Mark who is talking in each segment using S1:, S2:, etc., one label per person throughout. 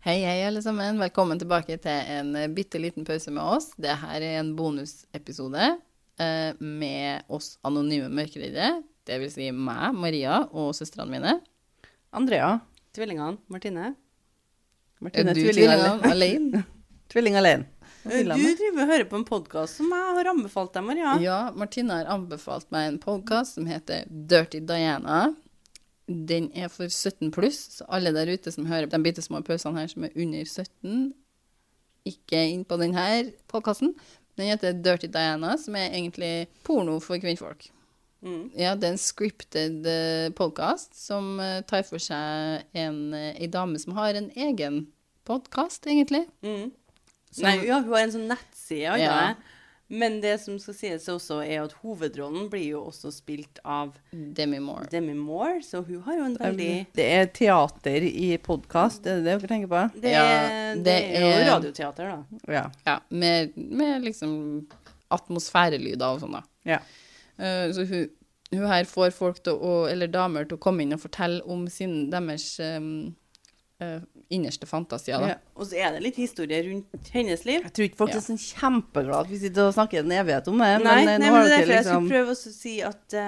S1: Hei, hei, alle sammen. Velkommen tilbake til en eh, bitte liten pause med oss. Dette er en bonusepisode eh, med oss anonyme mørkereddere. Det vil si meg, Maria, og søstrene mine.
S2: Andrea.
S3: Tvillingene. Martine.
S2: Martine,
S1: er du
S2: tvilling,
S1: tvillingene
S2: alene.
S1: alene?
S2: tvilling alene.
S3: Du driver og hører på en podkast som jeg har anbefalt deg, Maria.
S1: Ja, Martine har anbefalt meg en podkast som heter Dirty Diana. Den er for 17 pluss, så alle der ute som hører de bitte små pausene her som er under 17, ikke inn på denne podkasten. Den heter Dirty Diana, som er egentlig porno for kvinnfolk.
S3: Mm.
S1: Ja, det er en scripted eh, podcast som eh, tar for seg en, eh, en dame som har en egen podcast, egentlig.
S3: Mm.
S1: Som-
S3: Nei, ja, hun har en sånn nettside, har
S1: Ja.
S3: jeg. Men det som skal sies også, er at hovedrollen blir jo også spilt av
S1: Demi Moore.
S3: Demi Moore, så hun har jo en veldig
S2: Det er teater i podkast, er det det dere tenker på?
S3: Det,
S1: Ja,
S3: er- det,
S1: det
S3: er jo
S1: er-
S3: radioteater, da.
S2: Ja.
S1: Ja, med, med liksom atmosfærelyder og sånn da.
S2: ja.
S1: Eh, så hun, hun her får folk til å, eller damer til å komme inn og fortelle om sin, deres em, eh, innerste fantasier da.
S2: Ja.
S3: Og så er det litt historie rundt hennes liv.
S2: Jeg tror ikke folk
S1: Ja.
S2: er sånn kjempeglade at vi sitter og snakker en evighet om det,
S3: Nei,
S2: men eh,
S3: nei,
S2: nå
S3: men det er
S2: har
S3: derfor
S2: dere
S3: jeg
S2: liksom
S3: skulle prøve også å si at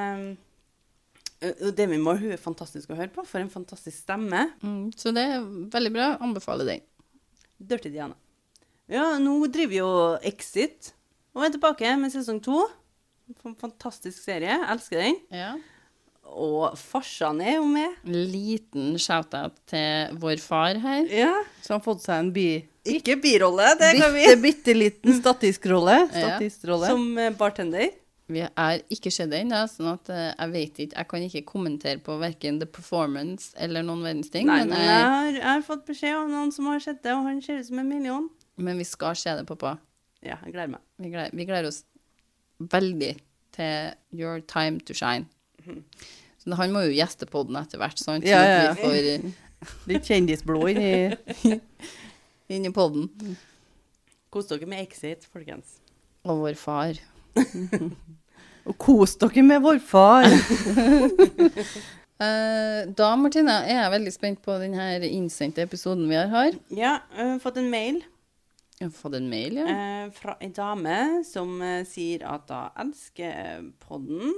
S3: eh, og Demi Moore hun er fantastisk å høre på. For en fantastisk stemme.
S1: Mm, så det er veldig bra, anbefaler den.
S3: Dirty Diana. Ja, nå driver jo Exit og er tilbake med sesong to. F- Fantastisk serie. Elsker den.
S1: Ja.
S3: Og farsan er jo med.
S1: Liten shout-out til vår far her.
S3: Ja.
S2: Så har han fått seg en bi...
S3: Ikke birolle, det kan vi.
S2: Bitte, bitte liten statistrolle.
S1: Ja.
S2: Statistrolle.
S3: Som eh, bartender.
S1: Vi er ikke skjedd ennå, sånn at eh, jeg vet ikke Jeg kan ikke kommentere på verken The Performance eller noen verdens ting,
S3: Nei,
S1: men,
S3: men jeg
S1: jeg-
S3: har, jeg har fått beskjed av noen som har sett det, og han ser ut som en million.
S1: men vi skal se det, pappa.
S3: Ja, jeg gleder meg.
S1: Vi gleder, vi gleder oss veldig til Your Time to Shine. Så han må jo gjeste podden etter hvert, sant?
S2: Mhm. Ja, ja, ja.
S1: sånn at vi får eh,
S2: Litt kjendisblod inni
S1: inn i podden.
S3: Kos dere med Exit, folkens.
S1: Og vår far.
S2: Og kos dere med vår far.
S1: Eh, da, Martine, er jeg veldig spent på den her innsendte episoden vi har. her.
S3: Ja, jeg har fått en mail.
S1: Jeg har fått en mail, ja.
S3: eh, fra ei dame som eh, sier at da elsker eh, podden.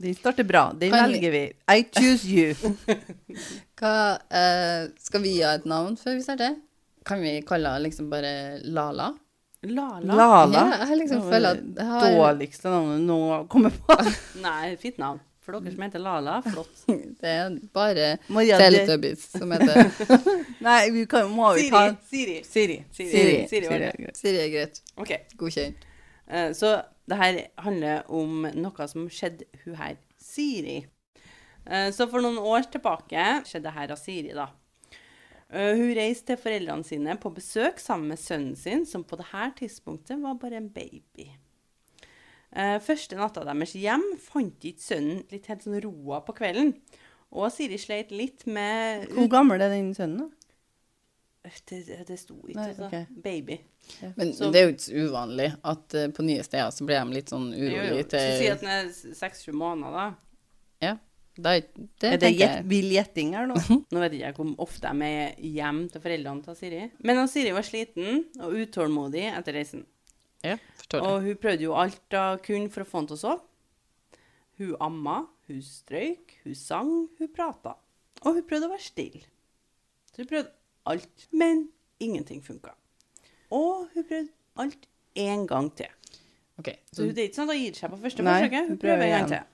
S2: Den starter bra. Den
S1: Kan vi-
S2: velger vi. I choose you.
S1: Hva, eh, skal vi ha et navn før vi starter? Kan vi kalle henne liksom bare Lala?
S3: Lala.
S2: Lala.
S1: Ja, jeg liksom føler at jeg har-
S2: Dårligste navnet nå kommer på.
S3: Nei, fint navn. For dere som heter Lala, flott.
S1: Det er bare
S2: Maria, det,
S1: Teletubbies som heter
S2: nei, vi kan, må jo ta
S3: Siri. Siri.
S2: Siri.
S3: Siri.
S1: Siri.
S3: var det.
S2: er greit.
S1: Siri er greit.
S3: Ok,
S1: Godkjent.
S3: eh, Så det her handler om noe som skjedde hun her, Siri. Eh, Så for noen år tilbake skjedde det her av Siri, da. Eh, Hun reiste til foreldrene sine på besøk sammen med sønnen sin, som på det her tidspunktet var bare en baby. Eh, Første natta deres hjem fant ikke sønnen litt helt sånn roa på kvelden. Og Siri sleit litt med
S2: Hvor gammel er den sønnen, da?
S3: Det, det sto ikke,
S2: Nei,
S3: altså.
S2: ok.
S3: Baby.
S1: Men
S3: Så-
S1: det er jo ikke så uvanlig at eh, på nye steder så blir de litt sånn
S3: Jo, jo.
S1: urolige
S3: Så si
S1: til
S3: at den er seks-sju måneder,
S1: Ja. Da, det,
S2: Er det
S1: tenker Mhm.
S2: jet,
S1: jeg.
S2: vill gjetting her nå?
S3: da. Nå vet jeg ikke om ofte de er hjem til foreldrene til Siri. Men han Siri var sliten og utålmodig etter reisen.
S1: Ja, forstår det.
S3: Og hun prøvde jo alt hun kunne for å få han til å sove. Hun amma, hun strøyk, hun sang, hun prata. Og hun prøvde å være stille. Så hun prøvde alt, men ingenting funka. Og hun prøvde alt én gang til.
S1: OK.
S3: Så
S1: Så
S3: hun, det er ikke sånn at hun gir seg på første
S2: Nei,
S3: forsøket.
S2: hun
S3: Hun prøver en
S2: prøver
S3: gang
S2: igjen.
S3: til.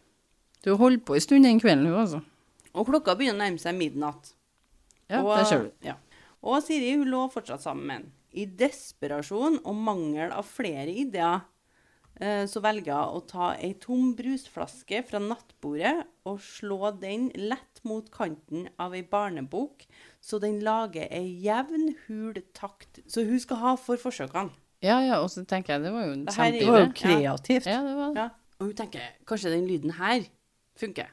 S1: du holdt på en stund den kvelden, hun, altså.
S3: Og klokka begynner å nærme seg midnatt.
S1: Ja,
S3: og,
S1: der ser du.
S3: Ja. Og Siri hun lå fortsatt sammen med han. I desperasjon og mangel av flere ideer eh, så velger hun å ta ei tom brusflaske fra nattbordet og slå den lett mot kanten av ei barnebok, så den lager ei jevn, hul takt. Så hun skal ha for forsøkene.
S1: Ja, ja, og så tenker jeg det var jo en
S3: Det her er
S2: Det var jo
S1: kjempeidé.
S2: kreativt.
S1: Ja, det var det.
S3: Ja. Og hun tenker kanskje den lyden her funker.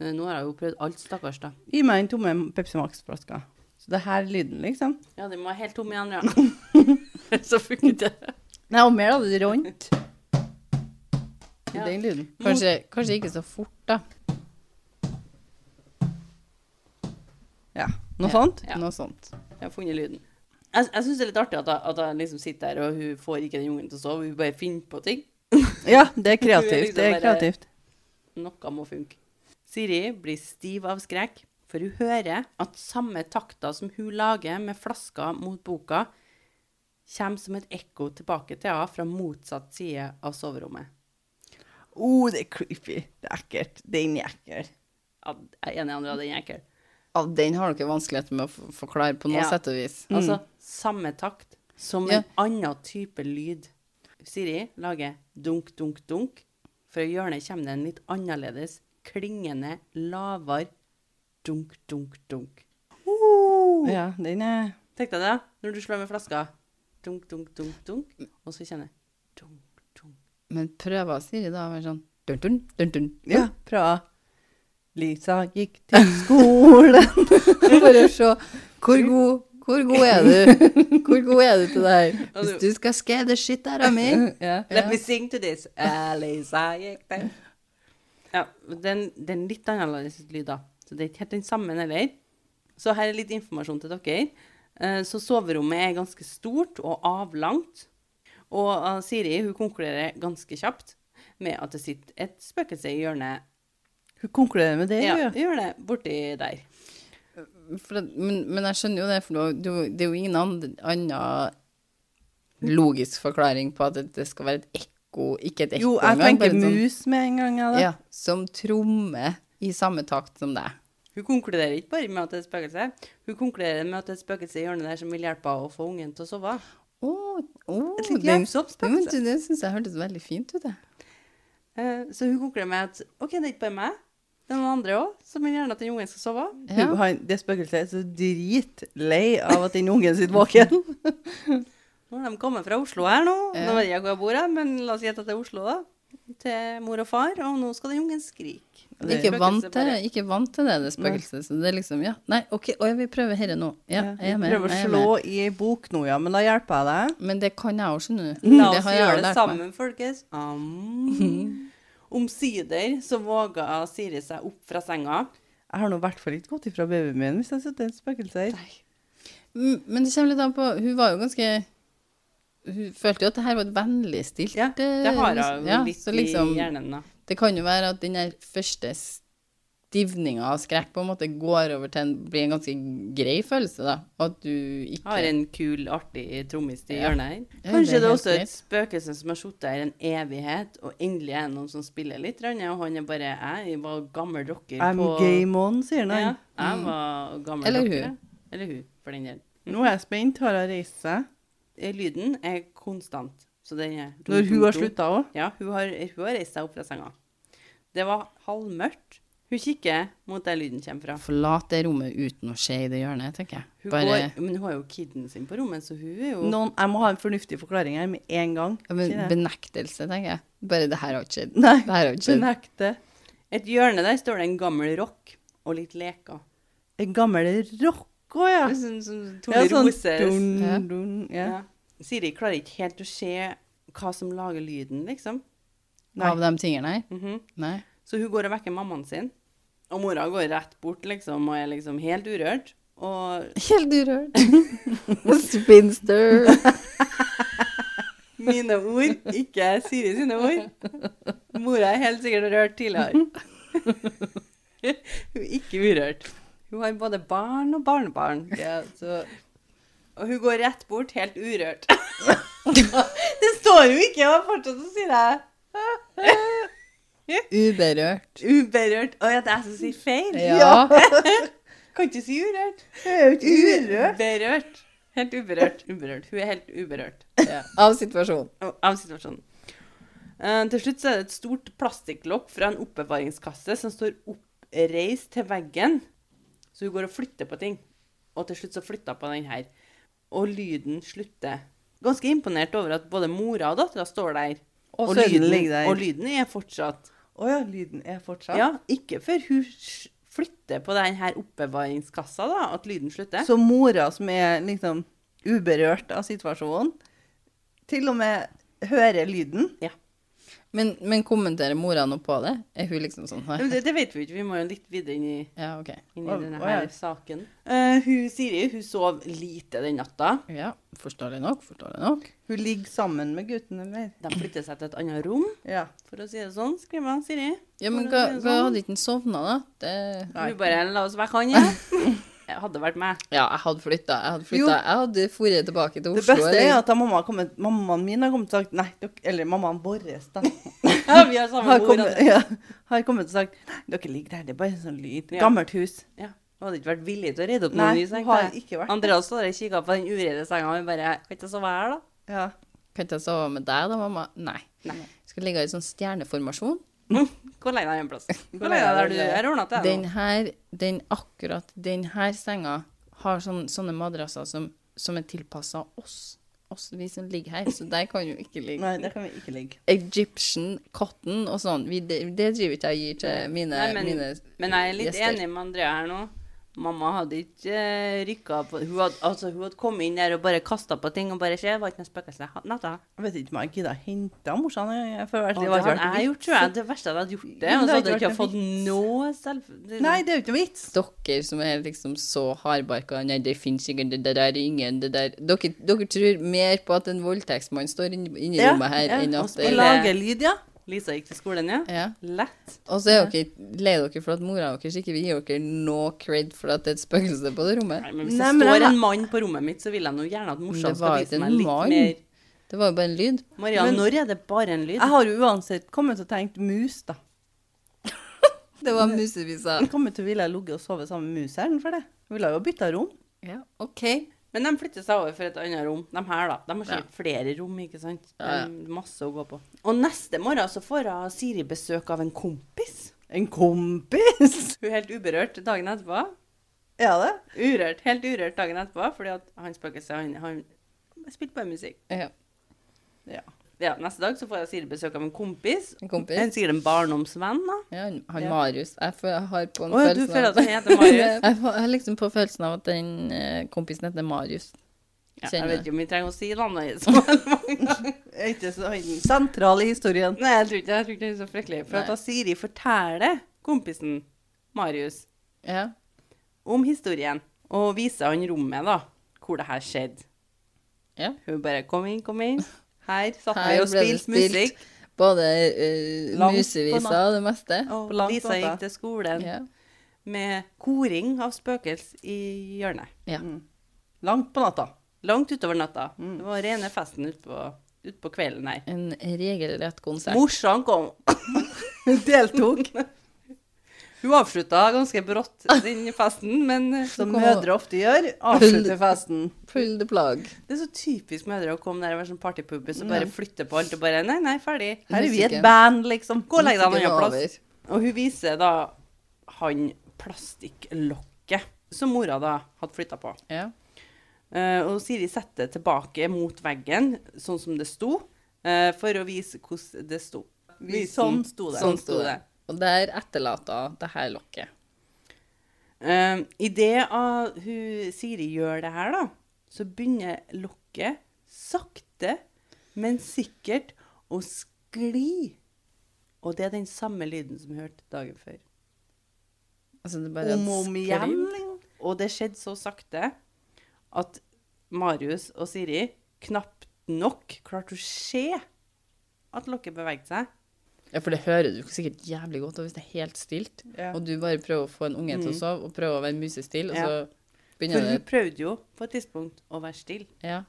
S3: Eh, Nå har hun jo prøvd alt, stakkars, da.
S2: Gi meg den tomme Pepsi Max-flaska. Så det her er lyden, liksom.
S3: Ja, den må være helt tom i andre hånd. så funker det.
S2: Nei, og mer hadde det rant.
S3: Ja.
S2: Den lyden.
S1: Kanskje, kanskje ikke så fort, da.
S2: Ja. Noe sånt?
S3: Ja.
S1: Noe sånt.
S3: Jeg har funnet lyden. Jeg, jeg syns det er litt artig at jeg, at jeg liksom sitter her, og hun får ikke den ungen til å sove. Hun bare finner på ting.
S2: Ja, det er
S3: liksom
S2: kreativt. Det er
S3: bare-
S2: kreativt.
S3: Noe må funke. Siri blir stiv av skrekk, for hun hører at samme takter som hun lager med flaska mot boka, kommer som et ekko tilbake til henne fra motsatt side av soverommet.
S2: Oh, det er creepy. Det er ekkelt. Den er ekkel.
S3: Ja, jeg er enig, Andrea, den er ekkel.
S1: Ja, den har dere vanskeligheter med å f- forklare på noe
S3: Ja.
S1: sett og vis.
S3: Altså, samme takt som
S1: Ja.
S3: en annen type lyd. Siri lager dunk, dunk, dunk. Fra hjørnet kommer det en litt annerledes, klingende, lavere dunk, dunk, dunk.
S2: Ja, den er
S3: Tenk deg det, når du slår med flaska. Dunk, dunk, dunk, dunk. Og så kjenner jeg dunk, dunk.
S1: Men prøver Siri da å være sånn dun, dun, dun, dun.
S2: Ja, bra. Lisa gikk til skolen.
S1: Bare se hvor god, hvor god er du? Hvor god er du til det her? Hvis du skal scare the shit out of me.
S2: ja.
S3: Let me sing to this. Elisa gikk der. Ja, den, den litt annerledes lyd, da. Så det er ikke helt den samme heller. Så her er litt informasjon til dere. Eh, Så soverommet er ganske stort og avlangt. Og eh, Siri hun konkluderer ganske kjapt med at det sitter et spøkelse i hjørnet.
S2: Hun konkluderer med det,
S3: Ja,
S2: ja.
S3: hjørnet borti der.
S1: For at, men, men jeg skjønner jo det, for det er jo- det er jo ingen andre- annen logisk forklaring på at det- det skal være et ekko, ikke et ekko
S2: Jo, jeg
S1: engang, bare
S2: tenker
S1: et sånn-
S2: mus med en gang. Jeg, da.
S1: Ja, som trommer i samme takt som deg.
S3: Hun konkluderer ikke bare med at det er et spøkelse. Hun konkluderer med at det er et spøkelse i hjørnet der som vil hjelpe henne å få ungen til å sove.
S1: Å, å,
S3: Et litt
S1: den-
S3: hjelpsomt
S1: Jo, men
S3: spøkelse.
S1: du, Det syns jeg hørtes veldig fint ut, jeg.
S3: Eh, Så hun konkluderer med at OK, det er ikke bare meg. Det er noen andre òg som vil gjerne at den ungen skal sove.
S1: Ja.
S2: Hun- Han, det spøkelset er så dritlei av at den ungen sitter våken.
S3: Nå har de kommet fra Oslo her nå.
S1: Ja.
S3: Nå vet jeg ikke hvor jeg bor, her, men la oss gjette at det er Oslo, da. Til mor og far. Og nå skal den ungen skrike.
S1: Det er
S3: Spøkelset
S1: Ikke vant, til,
S3: bare-
S1: ikke vant til det, det spøkelset. Så det er liksom, ja, nei, OK, å, ja, vi prøver dette nå. Ja, jeg er med.
S2: Prøver
S1: jeg
S2: å
S1: er
S2: slå
S1: med.
S2: i ei bok nå, ja, men da hjelper jeg deg.
S1: Men det kan jeg òg, skjønner du.
S3: La
S1: Det
S3: oss
S1: har jeg
S3: gjøre det
S1: lært meg.
S3: sammen, folkens. Am. Omsider så våga Siri seg opp fra senga.
S2: Jeg har nå i hvert fall ikke gått ifra babyen min hvis jeg har sett et spøkelse her.
S1: Mm, Men det kommer litt an på Hun var jo ganske Hun følte jo at det her var et vennlig stilt eh,
S3: Ja, det har hun
S1: ja,
S3: litt
S1: så liksom,
S3: i hjernen, da.
S1: Det kan jo være at den der første stivninga av skrekk på en måte går over til en, blir en ganske grei følelse, da. At du ikke
S3: Har en kul, artig trommist i
S1: Ja.
S3: hjørnet her.
S1: Ja, det
S3: Kanskje
S1: er
S3: det er
S1: helt
S3: også et
S1: greit.
S3: spøkelse som har sittet her en evighet, og endelig er det noen som spiller litt, grann, og han er bare Jeg var gammel rocker
S2: I'm
S3: på
S2: game on, sier han.
S3: Ja, jeg var gammel
S1: Mm. Eller
S3: rocker,
S1: hun.
S3: jeg. Eller hun, for den del.
S2: Nå er jeg spent. Har hun reist seg?
S3: Eh, Lyden er konstant. Så den er
S2: Når hun har slutta òg?
S3: Ja, hun har, hun har reist seg opp fra senga. Det var halvmørkt. Hun kikker mot der lyden kommer fra.
S1: Forlat det rommet uten å se i det hjørnet, tenker jeg.
S3: Hun
S1: Bare
S3: går, men hun har jo kiden sin på rommet, så hun er jo
S2: Noen, jeg må ha en fornuftig forklaring her med en gang.
S1: ja, men,
S2: Ikke det?
S1: benektelse, tenker jeg. Bare det her har ikke skjedd.
S2: Nei,
S1: Det her har ikke skjedd.
S2: benekte.
S3: Et hjørne der står det en gammel rock og litt leker.
S2: En gammel rock òg, ja.
S3: Sånn, sånn,
S2: Ja,
S3: Tone
S2: sånn
S3: Rose.
S2: dun,
S1: Ja.
S2: dun, ja.
S3: Ja. Siri klarer ikke helt å se hva som lager lyden, liksom.
S2: Nei.
S1: Av de tingene her.
S3: Mhm.
S1: Nei.
S3: Så hun går og vekker mammaen sin. Og mora går rett bort, liksom, og er liksom helt urørt. Og
S1: Helt urørt. Spinster.
S3: mine ord, ikke Siri sine ord. Mora er helt sikkert rørt tidligere. Hun er ikke urørt. Hun har både barn og barnebarn.
S2: Ja, så-
S3: Og hun går rett bort, helt urørt. det står jo ikke, og fortsatt så sier jeg
S1: Uberørt.
S3: uberørt. Å ja, det er jeg som sier feil?
S1: Ja.
S3: Kan ikke si urørt.
S2: Jeg er jo ikke urørt.
S3: Uberørt. Helt uberørt. uberørt. Hun er helt uberørt
S1: Av situasjonen.
S3: av av situasjonen. Eh, til slutt så er det et stort plastikklokk fra en oppbevaringskasse som står oppreist til veggen. Så hun går og flytter på ting. Og til slutt så flytter hun på den her. Og lyden slutter. Ganske imponert over at både mora og dattera står der.
S2: Og sønnen
S3: lyden-
S2: ligger der.
S3: Og lyden er fortsatt.
S2: Å ja, lyden er fortsatt.
S3: Ja, ikke før hun s- flytter på den her oppbevaringskassa da, at lyden slutter.
S2: Så mora som er liksom uberørt av situasjonen, til og med hører lyden.
S3: Ja.
S1: Men, men kommenterer mora noe på det? Er hun liksom sånn
S3: Men Det, det vet vi ikke, vi må jo litt videre inn i,
S1: Ja, OK.
S3: inn i
S2: Å,
S3: denne
S2: å,
S3: her
S2: ja.
S3: saken. Eh, hun Siri hun sov lite den natta.
S1: Ja, forståelig nok, forstårlig nok.
S2: Hun ligger sammen med gutten, eller?
S3: De flytter seg til et annet rom,
S2: Ja.
S3: for å si det sånn, skriver han Siri.
S1: Ja, men
S3: For å
S1: hva,
S3: si det
S1: hva
S3: sånn.
S1: hadde ikke han sovna, da? Det...
S3: Hun bare la oss være kan, jeg. Hadde vært meg.
S1: Ja, jeg hadde flytta. Jeg hadde
S2: Jo.
S1: flytta. Jeg hadde dratt tilbake til
S2: Det
S1: Oslo.
S2: beste er
S1: eller-
S2: at da mamma har kommet, mammaen min har kommet og sagt Nei, dere, eller mammaen vår da,
S3: Ja, vi har samme
S2: har
S3: bord.
S2: kommet,
S3: altså.
S2: ja, har kommet og sagt Nei, dere ligger der, det er bare en sånn lyd.
S3: Ja.
S2: Gammelt hus.
S3: Ja. Hun hadde ikke vært villig til å redde opp noen
S2: Nei,
S3: ny seng.
S2: hun har
S3: tenkte jeg.
S2: ikke vært
S3: Andreas står der og kikker på den uredde senga og bare Kan ikke jeg sove her, da?
S2: ja.
S1: Kan ikke jeg sove med deg da, mamma? Nei.
S3: Nei.
S1: Skal ligge i sånn stjerneformasjon.
S3: Hvor lenge er det en plass? Hvor lenge er det du Jeg har ordna til deg
S1: Den
S3: nå.
S1: her, den akkurat den her senga har sånn, sånne madrasser som, som er tilpassa oss. Oss, vi som ligger her. Så der kan jo ikke ligge.
S2: Nei, der kan vi ikke ligge.
S1: Egyptian cotton og sånn. Vi, det, det driver ikke jeg og gir til mine,
S3: Nei, men,
S1: mine
S3: men jeg er litt
S1: gjester.
S3: enig med Andrea her nå. Mamma hadde ikke uh, rykka på hun hadde, altså, hun hadde kommet inn der og bare kasta på ting og bare Se, var ikke noe spøkelse Ha- natta.
S2: Jeg vet ikke om jeg gidder å hente morsan. jeg- jeg får være-
S3: Det var
S2: det har
S3: ikke
S2: ikke vært
S3: jeg gjort, tror jeg. Det verste jeg hadde gjort det. Og så hadde jeg ikke fått noe selv... liksom, det-
S2: Nei, det er jo ikke noe vits.
S1: Dere som er liksom så hardbarka Nei, det finnes ikke, det der er ingen det der. Dere, dere tror mer på at en voldtektsmann står inni inni
S2: Ja,
S1: rommet her
S2: ja,
S1: enn at
S3: og
S2: Å
S1: det
S3: spiller-
S2: lage lyd, ja.
S3: Lisa gikk til skolen, ja.
S1: ja.
S3: Lett.
S1: Og så er dere lei dere for at mora deres ikke vil gi dere noe cred for at det er et spøkelse på det rommet.
S3: Nei, men hvis
S2: Nei,
S3: det
S2: men
S3: står
S2: jeg-
S3: en mann på rommet mitt, så vil jeg nå gjerne at
S1: Men
S3: morsan
S1: det
S3: skal
S1: var
S3: vise
S1: ikke
S3: meg
S1: en
S3: litt
S1: mann.
S3: mer
S1: Det var jo bare en lyd.
S3: Maria,
S2: Men-
S3: når er det bare en lyd?
S2: Jeg har jo uansett kommet til å tenke mus, da.
S1: Det var musevisa.
S2: Jeg kommer til å ville ligge og sove sammen med museren for det. Jeg ville jo bytta rom.
S1: Ja, OK.
S3: Men de flytter seg over for et annet rom. De her, da. De har sikkert flere rom, ikke sant. De,
S1: Ja, ja.
S3: Masse å gå på. Og neste morgen så får hun Siri besøk av en kompis.
S2: En kompis!
S3: Hun er helt uberørt dagen etterpå.
S2: Er det?
S3: Urørt, Helt urørt dagen etterpå, fordi at han spøkelset, han, han spilte bare musikk.
S1: Ja,
S2: Ja.
S3: Ja, Neste dag så får jeg Siri besøk av en kompis.
S1: en
S3: En
S1: kompis.
S3: sikkert en barndomsvenn, da.
S1: Ja, han han
S2: Ja.
S1: Marius. Jeg, får, jeg har på en
S3: Å ja, du
S1: følelse
S3: føler
S1: av
S3: at han heter Marius?
S1: Jeg får- jeg har liksom på følelsen av at den eh, kompisen heter Marius.
S3: Ja, jeg
S1: Kjenner
S3: vet
S1: det.
S3: ikke om vi trenger å si navnet hans.
S2: Er ikke så sentral i historien.
S3: Nei, jeg tror ikke, jeg tror ikke det er så fryktelig. For at
S1: Nei.
S3: da Siri forteller kompisen Marius
S1: Ja.
S3: om historien, og viser han rommet, da, hvor det her skjedde.
S1: Ja.
S3: Hun bare 'Kom inn, kom inn'. Her satt
S1: Her
S3: vi og
S1: ble det
S3: spilte musikk.
S1: Både eh,
S2: Langt på
S1: musevisa
S2: natt.
S1: og det meste.
S3: Og
S2: På langt
S3: Lisa
S2: natta.
S3: gikk til skolen
S1: Ja.
S3: med koring av spøkels i hjørnet.
S1: ja.
S3: Mm.
S2: Langt på natta. Mm.
S3: Langt utover natta. Det var rene festen utpå ut på kvelden her.
S1: En regelrett konsert.
S3: Morsan kom.
S2: Hun deltok,
S3: Hun avslutta ganske brått den festen, men
S2: som
S1: kom
S2: mødre ofte gjør. Avslutter festen.
S1: Pull the plug.
S3: Det er så typisk mødre å komme der og være sånn partypubis og bare flytte på alt og bare Nei, nei, ferdig.
S2: Her er vi et
S1: Musikken.
S2: band, liksom.
S3: Gå og legg deg en
S1: Musikken
S3: annen
S1: var
S3: plass. Og hun viser da han plastikklokket som mora da hadde flytta på.
S1: Ja.
S3: Eh, og Siri setter det tilbake mot veggen, sånn som det sto, eh, for å vise hvordan det sto.
S2: Vi-
S3: Vise den.
S2: sånn sto det.
S3: Sånn sto det.
S1: Og der etterlater hun det her lokket.
S3: Eh, I det at hun, Siri gjør det her, da, så begynner lokket sakte, men sikkert å skli. Og det er den samme lyden som vi hørte dagen før.
S1: Altså, det er bare
S2: Om
S1: et
S2: og om
S1: skrim.
S2: igjen. liksom.
S3: Og det skjedde så sakte at Marius og Siri knapt nok klarte å se at lokket beveget seg.
S1: Ja, for det hører du sikkert jævlig godt, og hvis det er helt stilt,
S2: Ja.
S1: og du bare prøver å få en unge til å sove, og prøver å være musestill, og
S3: Mm. Ja.
S1: så
S3: For
S1: begynner
S3: hun
S1: det
S3: prøvde jo på et tidspunkt å være stille.
S1: Ja.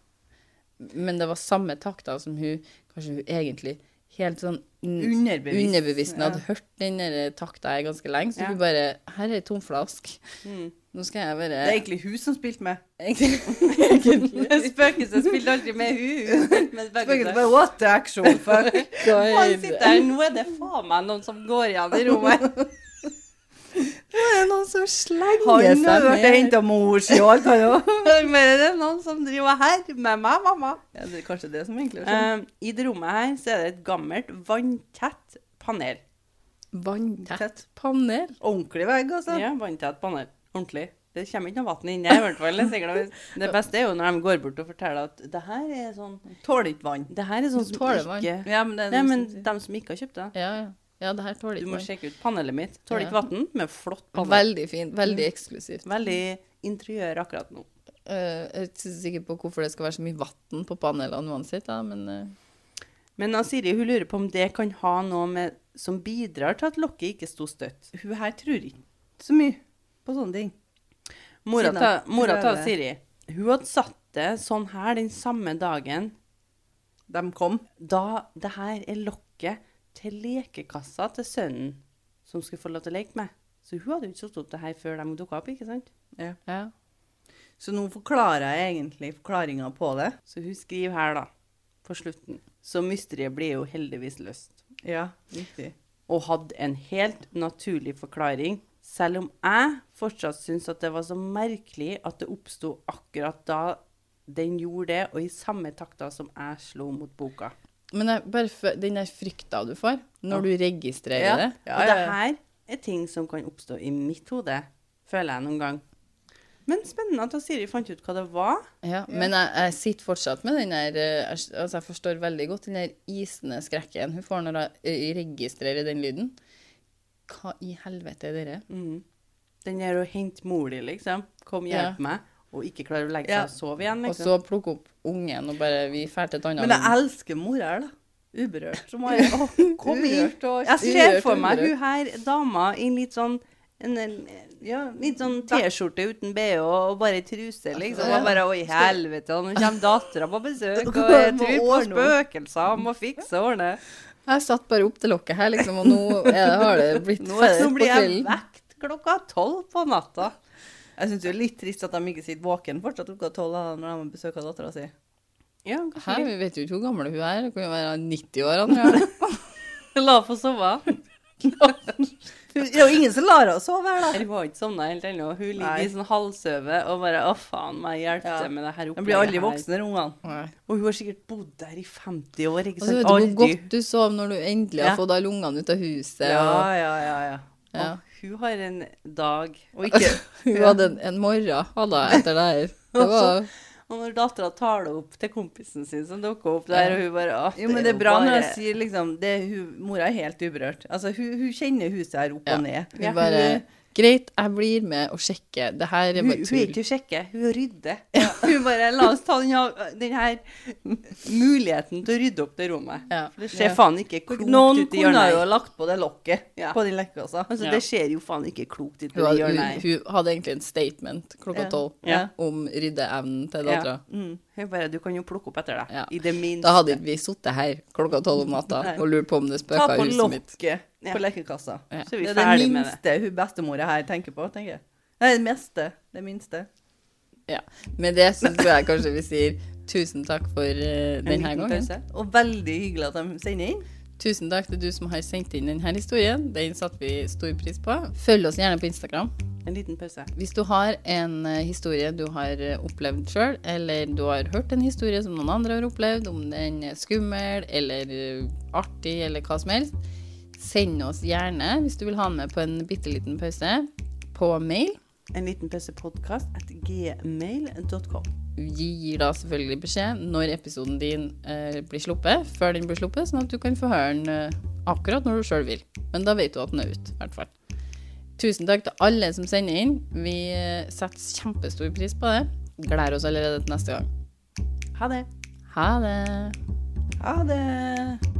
S1: Men det var samme takter som hun Kanskje hun egentlig helt sånn n-
S2: Underbevisst.
S1: underbevisst hun
S2: Ja.
S1: hadde hørt den der eh, takta her ganske lenge, så
S3: Ja.
S1: hun bare Her er ei tomflask.
S3: Mm.
S1: Nå skal jeg bare
S2: Det er egentlig hun som spilte med.
S3: Spøkelset spilte aldri med hun. hun spilte med
S2: Spøkelset
S3: spøkelset.
S2: bare What the actual fuck?
S3: Han sitter her, nå er det faen meg noen som går igjen i rommet.
S1: Det er noen som slenger
S2: Han
S1: seg
S2: har vært og henta mor si og alt, han òg.
S3: Men det er noen som driver her med meg, mamma.
S2: Ja, det er kanskje det som egentlig har skjedd.
S3: Eh, I det rommet her så er det et gammelt, vanntett panel.
S1: Vanntett panel.
S2: Ordentlig vegg, altså.
S3: Ja, vanntett panel. Ordentlig. Det kommer ikke noe vann inn der, i hvert fall. Det er sikkert noe- Det beste er jo når de går bort og forteller at det her er sånn
S2: Tåler ikke vann.
S3: Det her er sånn som
S1: Tåler vann.
S3: ikke
S2: Ja, men det er
S3: Nei,
S2: det
S3: men
S2: som-
S3: dem som ikke har kjøpt det.
S1: Ja, ja. ja det her tåler
S3: Du
S1: ikke
S3: må
S1: vann.
S3: sjekke ut panelet mitt. Tåler
S1: Ja.
S3: ikke vann, men flott panel.
S1: Veldig fint.
S3: Mm.
S1: Veldig eksklusivt.
S3: Veldig interiør akkurat nå.
S1: Eh, jeg er ikke så sikker på hvorfor det skal være så mye vann på panelene uansett, da, men eh,
S3: Men da Siri hun lurer på om det kan ha noe med som bidrar til at lokket ikke sto støtt.
S2: Hun her tror ikke så mye på sånne ting.
S3: Mora
S2: Siden
S3: ta-
S2: at-
S3: mora til
S2: prøve.
S3: Siri hun hadde satt det sånn her den samme dagen
S2: De kom.
S3: da det her er lokket til lekekassa til sønnen som skulle få lov til å leke med. Så hun hadde jo ikke satt opp det her før de dukka opp, ikke sant?
S1: ja.
S2: Så nå forklarer jeg egentlig forklaringa på det.
S3: Så hun skriver her, da, på slutten. Så mysteriet blir jo heldigvis løst.
S2: Ja, riktig.
S3: og hadde en helt naturlig forklaring, selv om jeg fortsatt syntes at det var så merkelig at det oppsto akkurat da den gjorde det, og i samme takta som jeg slo mot boka.
S1: Men jeg, bare for, den der frykta du får når du registrerer
S2: Ja.
S1: det
S2: Ja,
S3: og
S2: ja,
S3: det
S2: ja.
S3: her er ting som kan oppstå i mitt hode, føler jeg noen gang. Men spennende at da Siri fant ut hva det var.
S1: ja, Men jeg, jeg sitter fortsatt med den der eh, jeg s- altså Jeg forstår veldig godt den der isende skrekken hun får når hun eh, registrerer den lyden. Hva i helvete er det?
S2: Mm.
S3: Mhm. Den der å hente mor di, liksom. Kom, hjelp meg. Og ikke klarer å legge seg
S2: Ja.
S3: og sove igjen.
S1: Og
S3: Liksom.
S1: så plukke opp ungen og bare Vi drar til et annet
S2: Men jeg
S1: rom.
S2: elsker mora her, da. Uberørt. Som jeg er.
S3: kom
S2: Urørt og
S3: Jeg ser
S1: Urørt,
S3: for meg
S1: urørt.
S3: hun her dama i en litt sånn en, en, ja, litt sånn T-skjorte uten BH og bare i truse, liksom.
S1: Ja.
S3: Og bare Oi, helvete, og nå kommer dattera på besøk, og
S2: Må
S3: jeg tror på
S2: ordne opp.
S3: spøkelser, må fikse og ordne.
S1: Jeg satt bare opp til lokket her, liksom, og nå er det, har det blitt
S3: Nå, er
S1: fest
S3: det,
S1: på
S3: nå blir jeg
S1: kvelden.
S3: vekt klokka tolv på natta.
S2: Jeg syns det er litt trist at de ikke sitter våken fortsatt klokka tolv da, når de besøker dattera si.
S3: Ja,
S1: Hæ,
S3: kanskje
S1: vi vet jo ikke hvor gammel hun er. Hun kan jo være 90 år. Andrea.
S3: vi la få sove.
S2: Det er jo ingen som lar henne sove her, da.
S3: Hun har ikke sovna helt ennå. Hun ligger
S2: Nei.
S3: i sånn halvsøve og bare Å, faen meg, hjelp
S2: Ja.
S3: til med det her
S2: De blir aldri
S3: her».
S2: voksne, de ungene.
S1: Nei.
S3: Og hun har sikkert bodd der i 50 år, ikke
S1: Og så
S3: sant?
S1: vet du hvor
S3: Aldri
S1: godt du sov når du endelig har
S3: Ja.
S1: fått alle ungene ut av huset.
S2: Ja, ja, ja, ja.
S1: Og, ja.
S3: Og hun har en dag
S2: Og ikke
S1: Hun hadde en, en morgen hadde jeg etter det her. Det var,
S3: Og når dattera tar det opp til kompisen sin som dukker opp der,
S1: Ja.
S3: og hun bare «Å,
S2: Jo, men det er bra
S3: jo
S2: når jeg
S3: bare-
S2: sier liksom det, hun, Mora er helt uberørt. Altså, hun, hun kjenner huset her opp
S1: Ja.
S2: og ned.
S1: hun bare Greit, jeg blir med og sjekker. Det her er
S3: hun, hun
S1: bare
S3: er
S1: tull.
S3: ikke sjekke, hun rydder. Hun bare La oss ta den, her- den her muligheten til å rydde opp det rommet.
S1: Ja.
S3: For det ser
S2: Ja.
S3: faen ikke klokt
S2: Noen
S3: ut i
S2: kunne
S3: hjørnet.
S2: jo
S3: her.
S2: ha lagt på det lokket
S3: Ja.
S2: på den lekkekassa.
S3: Altså,
S1: Ja.
S3: Det ser jo faen ikke klokt ut i
S1: Hun, hadde- hun,
S3: hjørnet. her.
S1: hun hadde egentlig en statement klokka
S2: Ja.
S1: tolv
S3: Ja.
S1: om ryddeevnen til
S3: Ja.
S1: dattera.
S2: Mm.
S3: Hun bare Du kan jo plukke opp etter deg.
S1: Ja.
S3: I det minste.
S1: Da hadde ikke vi sittet her klokka tolv om natta
S2: Nei.
S1: og lurt på om det
S2: Ta
S1: spøka i
S2: på
S1: huset mitt.
S2: lokket
S3: Ja.
S2: på lekkekassa.
S1: Ja.
S3: Så er vi
S2: Det er det
S3: ferdig med det.
S2: minste hun bestemora her tenker på, tenker jeg. Nei, det meste. Det minste.
S1: Ja. Med det så tror jeg kanskje vi sier tusen takk for eh,
S3: En
S1: denne
S3: liten
S1: gangen.
S3: pause.
S2: Og veldig hyggelig at de sender inn.
S1: Tusen takk til du som har sendt inn denne historien. Den satte vi stor pris på. Følg oss gjerne på Instagram.
S3: En liten pause.
S1: Hvis du har en eh, historie du har eh, opplevd sjøl, eller du har hørt en historie som noen andre har opplevd, om den er skummel eller eh, artig eller hva som helst, send oss gjerne, hvis du vil ha den med på en bitte liten pause, på mail.
S3: En liten pause podcast at gmail.com.
S1: Vi gir da selvfølgelig beskjed når episoden din eh, blir sluppet, før den blir sluppet, sånn at du kan få høre den eh, akkurat når du sjøl vil. Men da vet du at den er ute, i hvert fall. Tusen takk til alle som sender inn. Vi eh, setter kjempestor pris på det. Gleder oss allerede til neste gang.
S3: Ha det.
S1: Ha det!
S2: Ha det.